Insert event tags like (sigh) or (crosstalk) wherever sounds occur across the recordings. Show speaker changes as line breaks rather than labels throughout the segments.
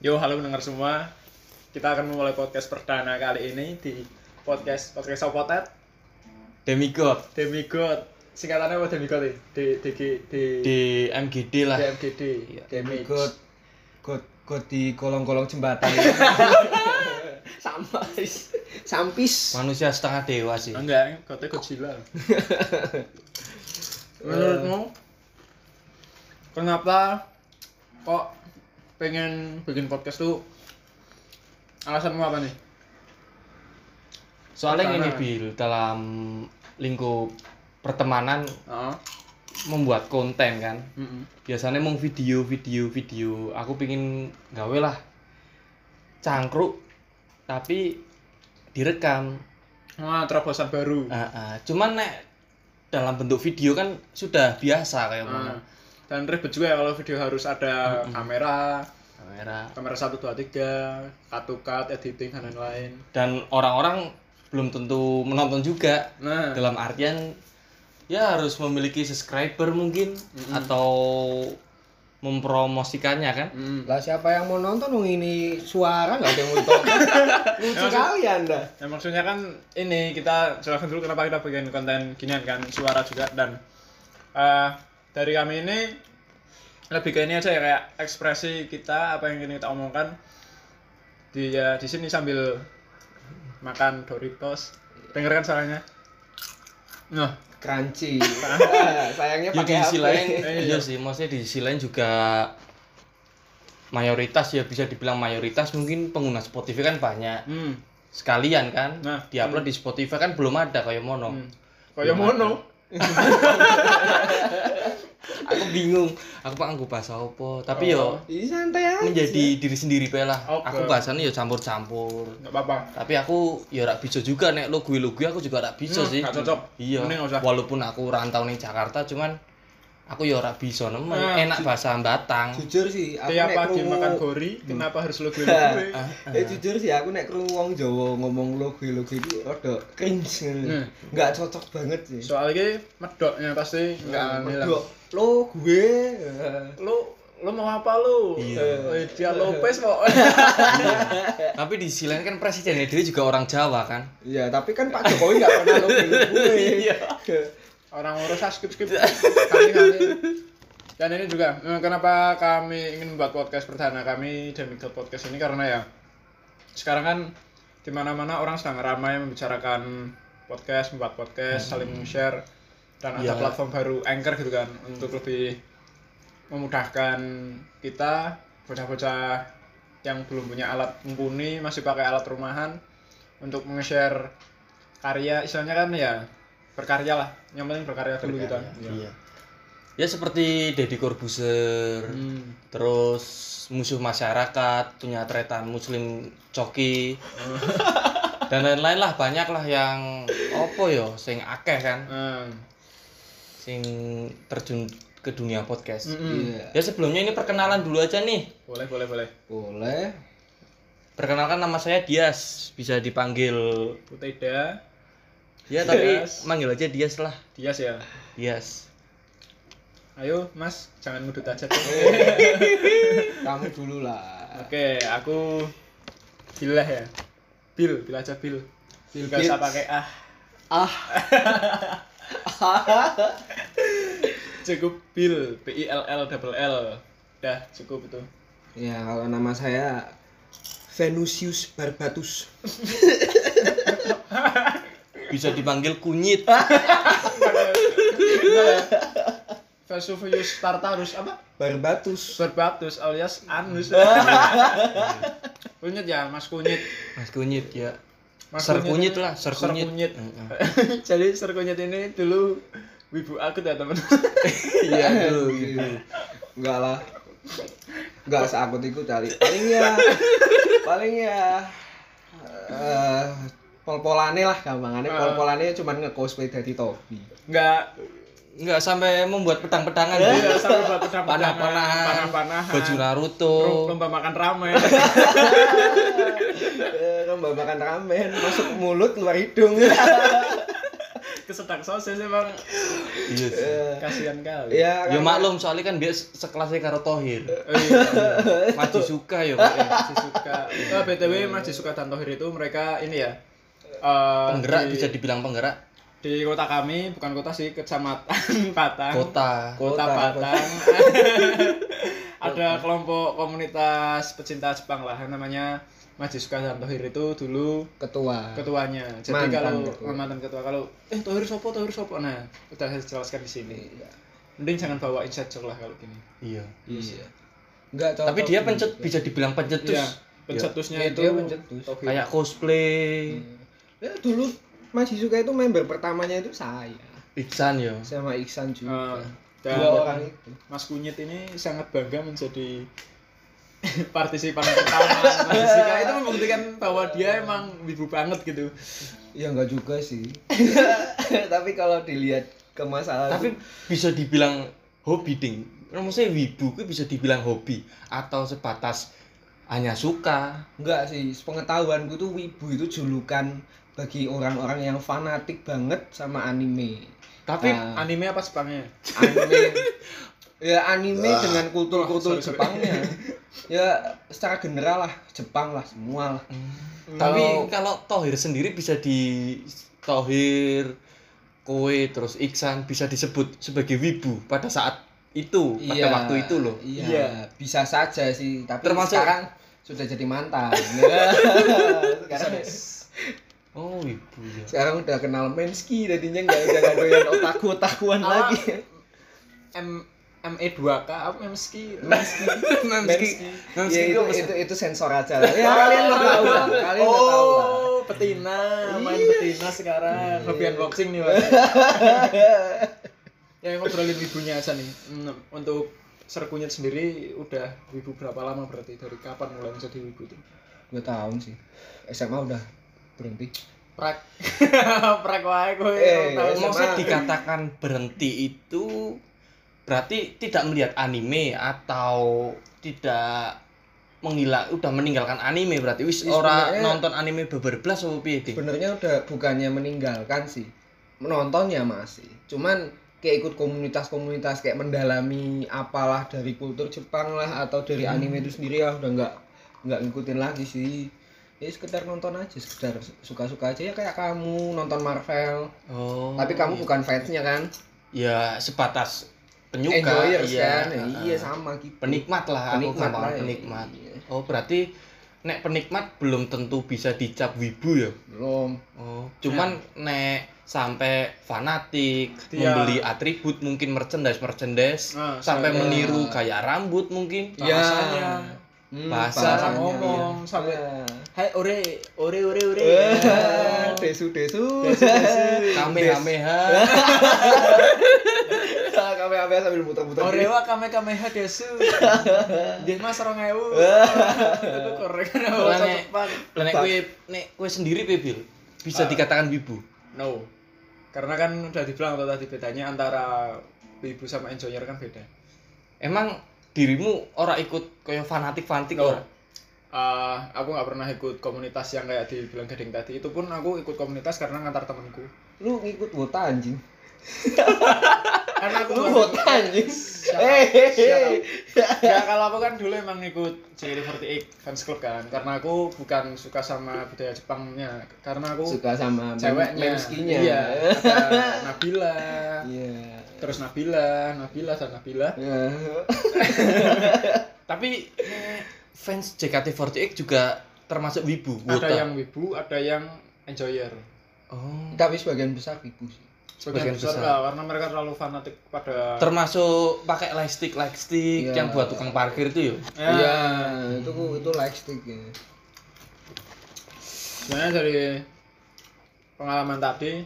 Yo, halo pendengar semua. Kita akan memulai podcast perdana kali ini di podcast podcast Sopotet
Demigod
Demigod. Singkatannya apa Demigod ini? D D G D
di MGD lah.
DMGD.
Iya.
Damage.
ikut ikut ikut di kolong-kolong jembatan
sampis sampis
Manusia setengah dewa sih.
Ah, Enggak, kota
(laughs)
Godzilla. Eh, Menurutmu kenapa kok pengen bikin podcast tuh? Alasanmu apa nih?
Soalnya ini
Pertama.
bil dalam lingkup pertemanan
Heeh.
membuat konten kan. Biasanya mau video video video. Aku pingin gawe lah cangkruk tapi direkam.
Wah, terobosan
Hmm.
baru.
Ah, ah. Cuman nek dalam bentuk video kan sudah biasa kayak iya, mana.
Ah. Dan ribet juga ya kalau video harus ada kamera,
Kamera
kamera 1, 2, 3, cut to cut, editing, dan lain-lain.
dan orang-orang belum tentu menonton juga.
Nah,
dalam artian ya harus memiliki subscriber mungkin atau mempromosikannya kan
mm.
lah siapa yang mau nonton Wong ini suara nggak ada yang mau ditonton lucu kali anda
Nah, maksudnya kan ini kita jelaskan dulu kenapa kita bikin konten ginian kan, suara juga dan eh, dari kami ini lebih ke ini aja ya kayak ekspresi kita apa yang ingin kita omongkan di ya, di sini sambil makan Doritos. Dengarkan suaranya. Nah,
crunchy
ya
sayangnya
di
pakai
sisi
HP.
lain
(laughs) Iya.
iya sih maksudnya di sisi lain juga mayoritas ya bisa dibilang mayoritas mungkin pengguna Spotify kan banyak
hmm.
sekalian kan
Nah,
diupload di Spotify kan belum ada kayak mono
Hmm. Kayak
Belum
mono.
aku bingung aku pak aku bahasa apa tapi
Oh.
yo
Ih, santai aja
menjadi diri sendiri bae lah
Oke.
aku bahasanya yo campur-campur
Enggak apa-apa.
tapi aku ya rak bisa juga nek lo gue lo gue aku juga rak bisa
Hmm,
sih
nggak cocok.
iya
Mending nggak usah.
walaupun aku rantau nih Jakarta cuman aku ya rak bisa nemen
Ah,
enak bahasa Batang
jujur sih aku
Tiap
nek
pagi
krungu-
makan gori, kenapa harus lo (laughs) gue
(laughs) eh jujur sih aku nek krungu wong Jawa ngomong logi logi itu rada cringe
Hmm.
ngono. nggak cocok banget sih
Soalnya medoknya pasti nggak aneh lah.
Berdua, lo gue Eh,
Lo lo mau apa lo?
Iya.
Eh, Dia Lopez kok.
tapi di sisi lain kan presidennya diri juga orang Jawa kan
ya tapi kan Pak Jokowi nggak pernah lo gue
Orang urus ah, skip skip. Kami kami. Dan ini juga eh, kenapa kami ingin membuat podcast perdana kami dan Miguel Podcast ini karena ya sekarang kan di mana mana orang sedang ramai membicarakan podcast, membuat podcast, saling share dan ada
Iya.
platform baru Anchor gitu kan untuk lebih memudahkan kita bocah-bocah yang belum punya alat mumpuni masih pakai alat rumahan untuk nge-share karya istilahnya kan ya berkarya lah yang penting berkarya dulu gitu. kita
iya ya seperti Deddy Corbuzier
Hmm.
terus musuh masyarakat punya tretan Muslim
(laughs)
coki dan lain-lain lah banyak lah yang opo yo sing akeh kan
Hmm.
sing terjun ke dunia podcast
Mm-mm.
Iya.
Ya sebelumnya ini perkenalan dulu aja nih.
Hmm. boleh boleh boleh
boleh
Perkenalkan nama saya Dias, bisa dipanggil
Puteda
ya tapi
Dias.
manggil aja Dias lah.
Dias ya
Dias.
ayo mas jangan ngudut aja
kamu dulu lah
oke aku Bilah ya Bil Bil aja Bil Bil gak
Bil.
usah pakai ah
ah
(laughs) cukup Bill B I L L double L dah cukup itu
ya kalau nama saya Venusius Barbatus
Bisa dipanggil Kunyit.
Vesuvius Tartarus apa
Barbatus
Barbatus alias Anus (laughs) kunyit ya Mas Kunyit
(laughs) Mas Kunyit ya.
Mas
Ser Kunyit
ini-
lah, Ser
Sir
Kunyit.
Kunyit.
Heeh.
(laughs) jadi Sir Kunyit ini dulu wibu aku ya teman
(laughs) iya aduh gitu enggak lah enggak seakut ikut kali paling ya paling ya eh pol-polane lah gampangannya pol-polane cuman nge-cosplay dari Tobi
(laughs) nggak
Enggak sampai membuat pedang-pedangan.
nggak
(laughs) Bil.
sampai buat pedang
Panah-panahan.
panah-panahan
Iya. Baju Naruto.
lomba makan (laughs) ramen
(laughs) eh, lomba makan ramen masuk mulut keluar hidung
kesetak sosis emang
Iya sih.
Eh,
kasihan kali.
ya
Ya
kan-
maklum soalnya kan dia se- sekelasnya karo Tohir.
Oh, iya.
Maju suka ya Pak.
Masih suka. Oh, BTW Mas Disuka dan Tohir itu mereka ini ya. eh,
Penggerak
di,
bisa dibilang penggerak
di kota kami bukan kota sih kecamatan (laughs) Patang
kota.
kota
Kota,
Patang (laughs) ada kelompok komunitas pecinta Jepang lah namanya Majisuka dan Tohir itu dulu
ketua
ketuanya jadi
Ah. Mantan
kalau
ketua.
eh, mantan ketua kalau eh Tohir sopo Tohir sopo nah udah saya jelaskan di sini mending jangan bawa inside joke lah kalau gini
Iya.
iya enggak ya.
Tapi dia pencet bisa dibilang pencetus.
iya pencetusnya
Iya,
itu
Ya. dia pencetus.
Tohir.
Kayak cosplay
ya dulu masih suka itu member pertamanya itu saya
Iksan ya.
sama Iksan
Eh,
juga
dan
dua orang itu
Mas Kunyit ini sangat bangga menjadi (laughs) partisipan
(laughs)
pertama Majisuka itu membuktikan bahwa dia emang wibu banget gitu
ya enggak juga sih (laughs) tapi kalau dilihat ke masalah
Tapi bisa dibilang hobi ding. Maksudnya wibu itu bisa dibilang hobi atau sebatas hanya suka.
Enggak sih, pengetahuanku tuh wibu itu julukan bagi orang-orang yang fanatik banget sama anime.
Tapi
Nah,
anime apa Jepangnya
anime
(laughs)
ya anime dengan
Wah,
kultur-kultur
sorry, sorry. (laughs)
Jepangnya. ya secara general lah, Jepang lah semua lah.
hmm, Tapi
Kalau-
kalau Tohir sendiri bisa di Tohir kowe terus Iksan bisa disebut sebagai wibu pada saat itu, pada
Iya,
waktu itu loh.
Iya,
Iya.
bisa saja sih, tapi
Termasuk-
sekarang sudah jadi
(laughs)
mantan. Iya. sekarang
Oh, wibu ya.
sekarang udah kenal Menski tadinya enggak udah enggak doyan otaku-otakuan
Ah.
lagi.
M ME2K apa Memski?
Menski.
Memski
Ya,
itu
itu,
apa sih?
itu itu sensor aja lah. Ya kalian nggak tahu lah. Kalian nggak tahu lah.
Iya. Oh, betina, main betina sekarang. Iya. Hobi unboxing Hmm. nih, (laughs) Mas. ya, ngobrolin wibunya aja nih. Hmm, Untuk serkunyet sendiri udah wibu berapa lama berarti? Dari kapan mulai menjadi wibu itu?
Dua tahun sih. SMA udah berhenti.
(laughs) Prak. Prak wae kowe.
Eh,
orang tahu.
Maksudnya dikatakan berhenti itu berarti tidak melihat anime atau tidak menghilang udah meninggalkan anime berarti wis
Wis, ya.
ora
sebenarnya-
nonton anime beber belas apa piye Ding?
Sebenarnya udah bukannya meninggalkan sih. Menontonnya masih. Cuman kayak ikut komunitas-komunitas kayak mendalami apalah dari kultur Jepang lah atau dari anime itu sendiri ya udah nggak nggak ngikutin lagi sih. Ya sekedar nonton aja, sekedar suka-suka aja ya kayak kamu nonton Marvel.
Oh.
Tapi kamu
iya.
bukan fansnya kan?
ya sebatas penyuka
Enjoyers kan? Ya,
heeh.
Iya sama gitu.
penikmat lah aku
Penikmat
gampang
lah, iya.
penikmat oh berarti nek penikmat belum tentu bisa dicap wibu ya
Belum.
oh cuman nek sampai fanatik
Iya.
membeli atribut mungkin merchandise merchandise
Ah,
sampai
saya-
meniru gaya rambut mungkin
Iya.
Bahasanya.
Hmm,
Bahasa
Cara
Bahasanya,
ngomong sampai
Iya.
Hai ore, ore ore (laughs) ore.
Eh, desu desu.
kamehameha
(laughs) Kami kami sambil muter-muter.
Ore wa kame kame ha (laughs) desu. Dia mas 2000. (laughs) Itu korek kan
Lah,
bahasa
Nek.
Jepang.
Lah, nek kue nek kue sendiri pibil bisa dikatakan wibu
No. Karena kan udah dibilang tuh tadi bedanya antara ibu sama enjoyer kan beda.
emang dirimu ora ikut kaya fanatik fanatik
No.
ora
Eh, aku nggak pernah ikut komunitas yang kayak dibilang gading tadi. Itu pun aku ikut komunitas karena ngantar temanku.
Lu ngikut wota anjing.
Karena aku
Lu
bukan-
wota anjing.
Shut up,
Eh,
shut up. Nggak, kalau aku kan dulu emang ikut JKT48 fans club kan. Karena aku bukan suka sama budaya Jepangnya. Karena aku
Suka sama
ceweknya.
memskinya.
Iya. (laughs) ada Nabila.
Iya.
Terus Nabila, Nabila dan Nabila.
Ya.
Tapi eh, fans JKT48 juga termasuk wibu.
Ada
wota.
yang wibu, ada yang enjoyer.
oh.
Tapi sebagian besar ibu sih.
Sebagian
Sebagian
besar,
besar.
lah, karena mereka terlalu fanatik pada
termasuk pakai lightstick lightstick
Iya.
yang buat tukang parkir itu yo.
Ya,
Iya, itu itu lightstick ya.
sebenarnya dari pengalaman tadi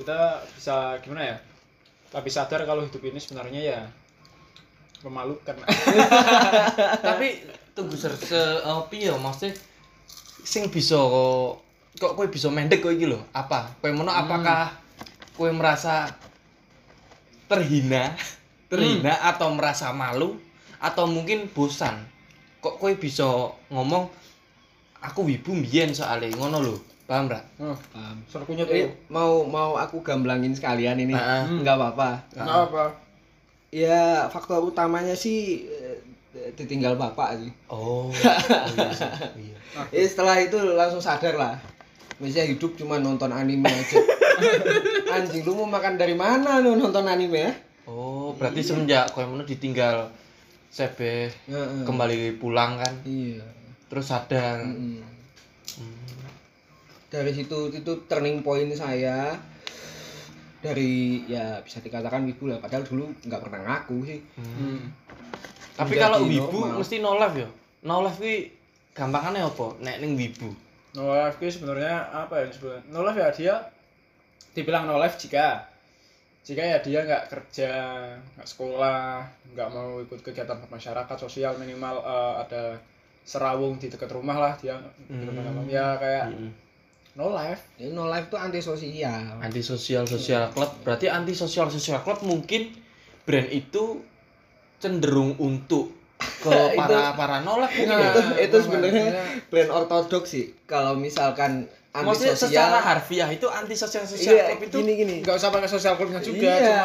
kita bisa gimana ya? Tapi sadar kalau hidup ini sebenarnya ya memalukan.
Tapi tunggu ser se apa ya maksudnya sing bisa kok kowe bisa mendek kowe iki lho. Apa? Kowe mono apakah kowe merasa terhina, (laughs) terhina atau merasa malu atau mungkin bosan? Kok kowe bisa ngomong aku wibu mbiyen soalnya ngono lho. Paham ra?
Oh, Iya.
Paham.
serkunya
Ini
tuh.
mau mau aku gamblangin sekalian ini.
Heeh.
Enggak apa-apa.
Enggak apa.
Ya faktor utamanya sih eh, ditinggal bapak sih.
(laughs) Oh. oh iya sih. Iya.
Ya setelah itu langsung sadar lah. Misalnya hidup cuma nonton anime
(laughs)
aja. Anjing lu mau makan dari mana lu nonton anime ya?
Oh, berarti semenjak kowe ngono ditinggal sebe
Heeh.
kembali pulang kan,
Iya.
terus sadar.
Mm.
Hmm.
Dari situ itu turning point saya dari ya bisa dikatakan wibu lah padahal dulu nggak pernah ngaku sih
Hmm.
Tapi
Menjadi
kalau wibu
normal.
mesti no life ya. No life kuwi gampangane apa? Nek ning wibu.
No life itu sebenarnya apa ya disebut? No life ya dia dibilang no life jika jika ya dia nggak kerja, nggak sekolah, nggak mau ikut kegiatan masyarakat sosial minimal eh, ada serawung di dekat rumah lah dia di rumah
Hmm.
namanya. ya kayak
Heeh.
no life
Jadi Ya, no life tuh Nah, anti sosial
Anti sosial sosial club. Berarti anti sosial sosial club mungkin brand itu cenderung untuk ke (laughs)
Itu-
para para no life mungkin ya.
Nah, itu
no
sebenarnya
life-nya.
brand ortodoks sih kalau misalkan anti
Nah, Maksudnya secara
sosial
harfiah itu anti sosial sosial
iya
club itu
gini gini
nggak usah pakai sosial clubnya juga
Iya.
cuma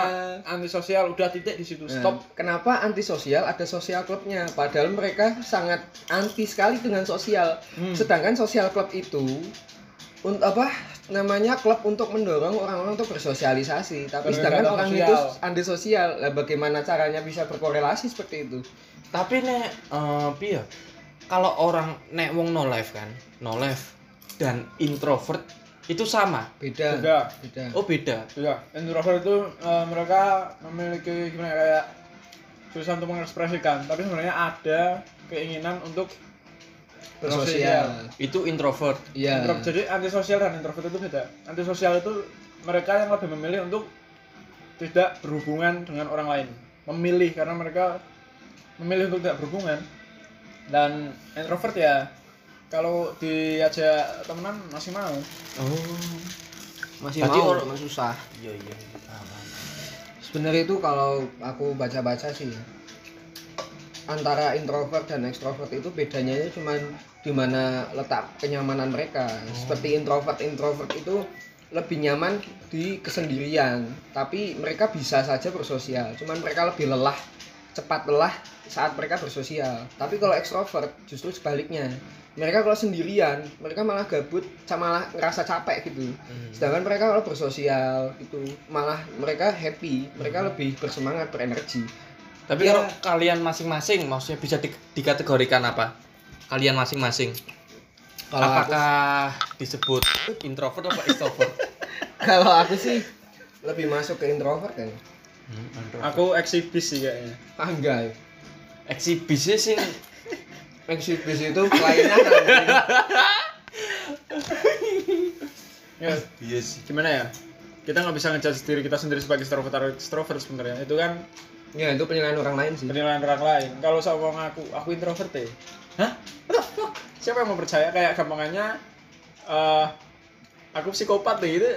anti sosial udah titik di situ
Stop.
stop
Kenapa anti sosial ada sosial klubnya? Padahal mereka sangat anti sekali dengan sosial.
Hmm.
Sedangkan sosial klub itu untuk apa namanya klub untuk mendorong orang-orang untuk bersosialisasi. Tapi
Karena
sedangkan
nggak ada
orang
sosial.
itu anti sosial. Lah bagaimana caranya bisa berkorelasi seperti itu?
tapi nek eh piye kalau orang nek wong no life kan no life dan introvert itu sama
Beda.
Beda.
Beda.
oh beda
Iya, introvert itu eh, mereka memiliki gimana ya, kayak susah untuk mengekspresikan, tapi sebenarnya ada keinginan untuk
Bersosial.
itu introvert
Iya.
Intro- Jadi antisosial dan introvert itu beda. Antisosial itu mereka yang lebih memilih untuk tidak berhubungan dengan orang lain. Memilih karena mereka memilih untuk tidak berhubungan. Dan introvert ya kalau diajak temenan masih mau.
oh
Masih
Berarti
mau,
orang-
cuma susah.
iya iya
Sebenarnya itu kalau aku baca-baca sih ya, antara introvert dan ekstrovert itu bedanya cuman di mana letak kenyamanan mereka. Seperti introvert introvert itu lebih nyaman di kesendirian, tapi mereka bisa saja bersosial. Cuman mereka lebih lelah, cepat lelah saat mereka bersosial. Tapi kalau ekstrovert justru sebaliknya. Mereka kalau sendirian, mereka malah gabut, ca- malah ngerasa capek gitu.
Hmm.
Sedangkan mereka kalau bersosial itu malah mereka happy, mereka lebih bersemangat, berenergi.
tapi
Iya.
kalau kalian masing-masing maksudnya bisa di- dikategorikan apa kalian masing-masing
Kalau aku,
apakah disebut introvert atau extrovert
(laughs) kalau aku sih lebih masuk ke introvert kan.
Aku eksibis sih kayaknya.
Ah enggak.
eksibisnya sih
Eksibis itu kan. pelayanan. anjing.
Ya,
iya sih
gimana ya? Kita nggak bisa ngejudge diri kita sendiri sebagai introvert atau extrovert sebenarnya. Itu kan
ya itu penilaian orang lain sih.
Hmm. penilaian orang lain kalau sama aku aku introvert ya hah What the fuck? siapa yang mau percaya kayak gampangannya eh aku psikopat deh gitu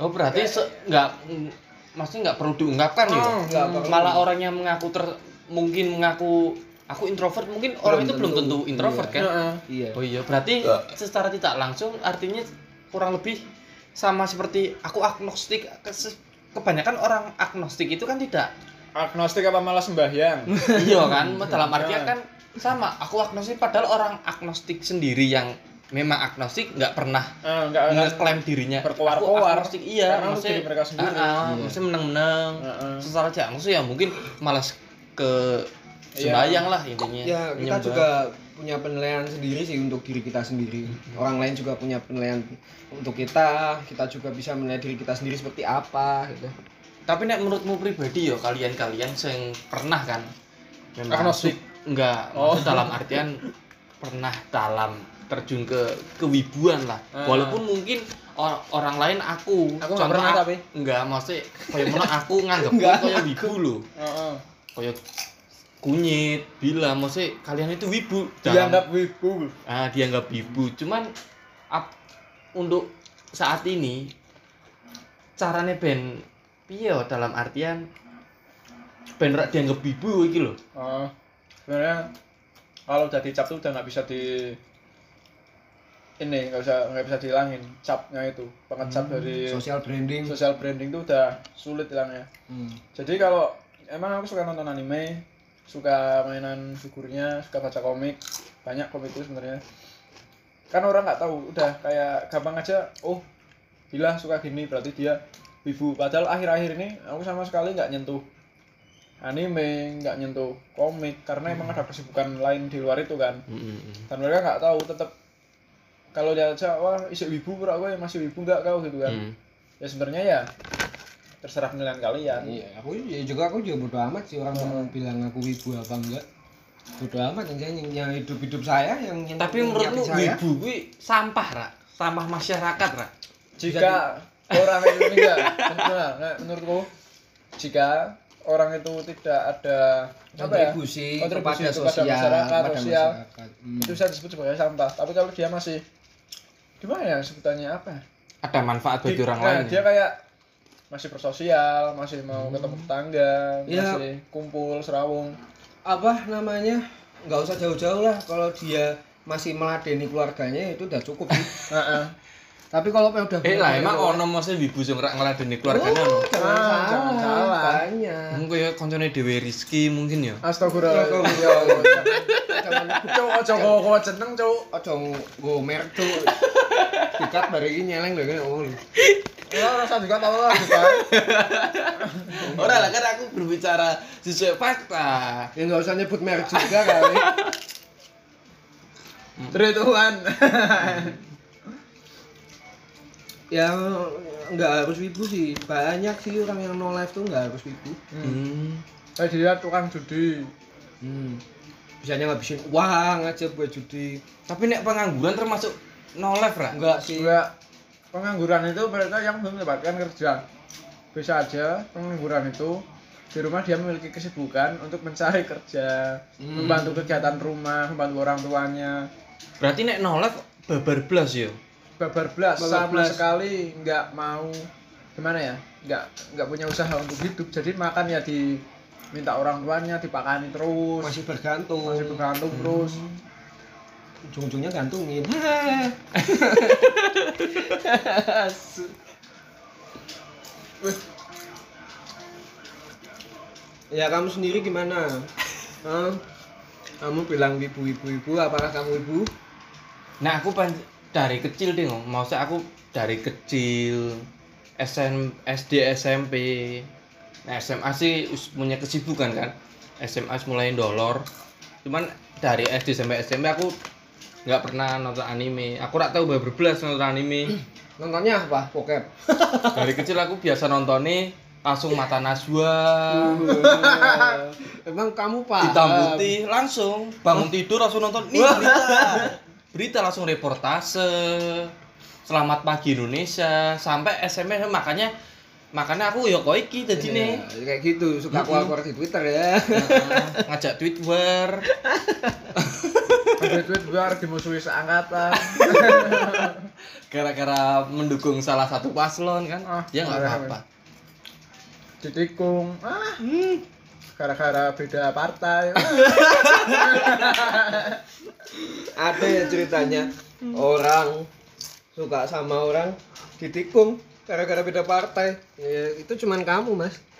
Oh berarti se- nggak mm, maksudnya nggak perlu diungkapkan ya?
Oh,
nggak perlu.
Malah orang yang mengaku ter mungkin mengaku aku introvert mungkin orang itu belum tentu
tentu,
introvert kan?
Heeh.
Iya.
Oh iya berarti secara tidak langsung artinya kurang lebih sama seperti aku agnostik Kes- kebanyakan orang agnostik itu kan tidak
agnostik apa malah sembahyang
iya kan dalam artian kan sama aku agnostik padahal orang agnostik sendiri yang memang agnostik nggak pernah
Eh, nggak akan
ngeklaim dirinya ya. aku
berkoar-koar.
agnostik
Karena lu
iya
Iya.
maksudnya
diri mereka sendiri.
Ah, ah, maksudnya menang-menang
Heeh.
secara tidak langsung ya mungkin malas ke
Iya.
sembahyang lah intinya
Ya, kita
Menyembah.
juga punya penilaian sendiri sih untuk diri kita sendiri. Orang lain juga punya penilaian untuk kita. Kita juga bisa menilai diri kita sendiri seperti apa gitu.
tapi nek menurutmu pribadi ya kalian-kalian yang pernah kan memang
Agnostik.
masuk- enggak
Oh.
maksud dalam artian pernah dalam terjun ke kewibuan lah
Ah.
walaupun mungkin or- orang lain aku
Aku nggak pernah,
aku-
tapi.
enggak maksudnya kayak (laughs) mana aku nganggep
Enggak,
kayak wibu loh
Heeh.
kayak kunyit bila maksudnya kalian itu wibu
dianggap wibu
ah dianggap wibu cuman ap- untuk saat ini caranya ben piye yo dalam artian ben rak dianggap wibu iki lho
Heeh. sebenarnya kalau udah dicap tuh udah nggak bisa di ini nggak bisa nggak bisa dihilangin capnya itu pengecap dari
Social Hmm, branding.
social branding itu udah sulit hilangnya
Hmm.
jadi kalau emang aku suka nonton anime suka mainan figurnya suka baca komik banyak komik itu sebenarnya kan orang nggak tahu udah kayak gampang aja oh bila suka gini berarti dia wibu padahal akhir-akhir ini aku sama sekali nggak nyentuh anime nggak nyentuh komik karena emang ada kesibukan lain di luar itu kan dan mereka nggak tahu tetap kalau lihat aja wah isi wibu pura gue masih wibu nggak kau gitu kan
Hmm.
ya sebenarnya ya terserah penilaian kalian
Iya, aku ya juga aku juga bodo amat sih orang mau bilang aku wibu apa enggak. Bodo amat yang yang, yang hidup-hidup saya yang yang-
Tapi
yang
menurut lu
nyiapin saya.
wibu kuwi sampah, Ra. Sampah masyarakat, Ra.
jika orang Indonesia nah, nah, menurutku jika orang itu tidak ada apa ya
kontribusi,
Kontribusi
kepada
kepada
sosial,
masyarakat,
kepada
sosial.
masyarakat. Hmm.
itu bisa disebut sebagai sampah tapi kalau dia masih gimana ya sebutannya apa ya?
Ada manfaat bagi
Di-
orang
nah,
lain. ya?
dia kayak masih bersosial masih mau ketemu tetangga
Iya.
masih kumpul serawung
apa namanya? Enggak usah jauh-jauh lah kalau dia masih meladeni keluarganya ya itu udah cukup sih.
Heeh.
Tapi kalau udah
Eh lah emang ono mose wibu sing ora ngladeni keluargane ono.
Oh, jangan,
Ah,
salah,
jangan salah.
Banyak.
Mungkin ya koncone dhewe Rizky mungkin ya.
astagfirullah
Yo, yo, ya, jangan
cowok cowok cowok jeneng cowok
ojo gomer tuh. (laughs) Dikat bari ini nyeleng lho kene oh.
ya rasa juga tahu lah kan. juga
Ora lah kan aku berbicara sesuai fakta.
Ya enggak usah nyebut merek juga kali.
Tri Tuhan
ya nggak harus wibu sih. Banyak sih orang yang no life tuh nggak harus wibu.
Hmm.
saya dilihat tukang judi
Hmm. Bisanya ngabisin uang aja buat judi.
Tapi nek pengangguran termasuk no life, Ra.
Enggak sih.
juga pengangguran itu mereka yang belum mendapatkan kerja bisa aja pengangguran itu di rumah dia memiliki kesibukan untuk mencari kerja
Hmm.
membantu kegiatan rumah membantu orang tuanya
Berarti nek no life babar blas ya.
babar belas
Babar
sama
blas.
sekali nggak mau gimana ya nggak nggak punya usaha untuk hidup jadi makan ya diminta orang tuanya dipakani terus masih,
Masih Hmm. bergantung.
bergantung terus
Ujung-ujungnya gantungin. (laughs) ya kamu sendiri gimana? Hah? Kamu bilang ibu-ibu-ibu, apakah kamu ibu?
Nah aku pan dari kecil deh ngomong, maksudnya aku dari kecil SM, SD SMP, nah SMA sih us- punya kesibukan kan, SMA mulai dolor, cuman dari SD sampai SMP aku nggak pernah nonton anime, aku nggak tahu baru belas nonton anime,
Nontonnya apa? Pokep.
dari kecil aku biasa nontonnya langsung mata Najwa,
Emang kamu paham?
hitam putih langsung bangun tidur langsung nonton nih berita berita langsung reportase selamat pagi Indonesia sampai SMS makanya makanya aku yo kok iki jadi nih
Iya, kayak gitu, suka keluar-keluar di Twitter ya.
ngajak tweet war
duit duit luar dimusuhi seangkatan
gara-gara mendukung salah satu paslon kan
Ah,
ya nggak
parah,
apa-apa
ditikung ah
Hmm.
gara-gara beda partai
Ada ya ceritanya orang suka sama orang ditikung gara-gara beda partai. Ya, itu cuman kamu, Mas.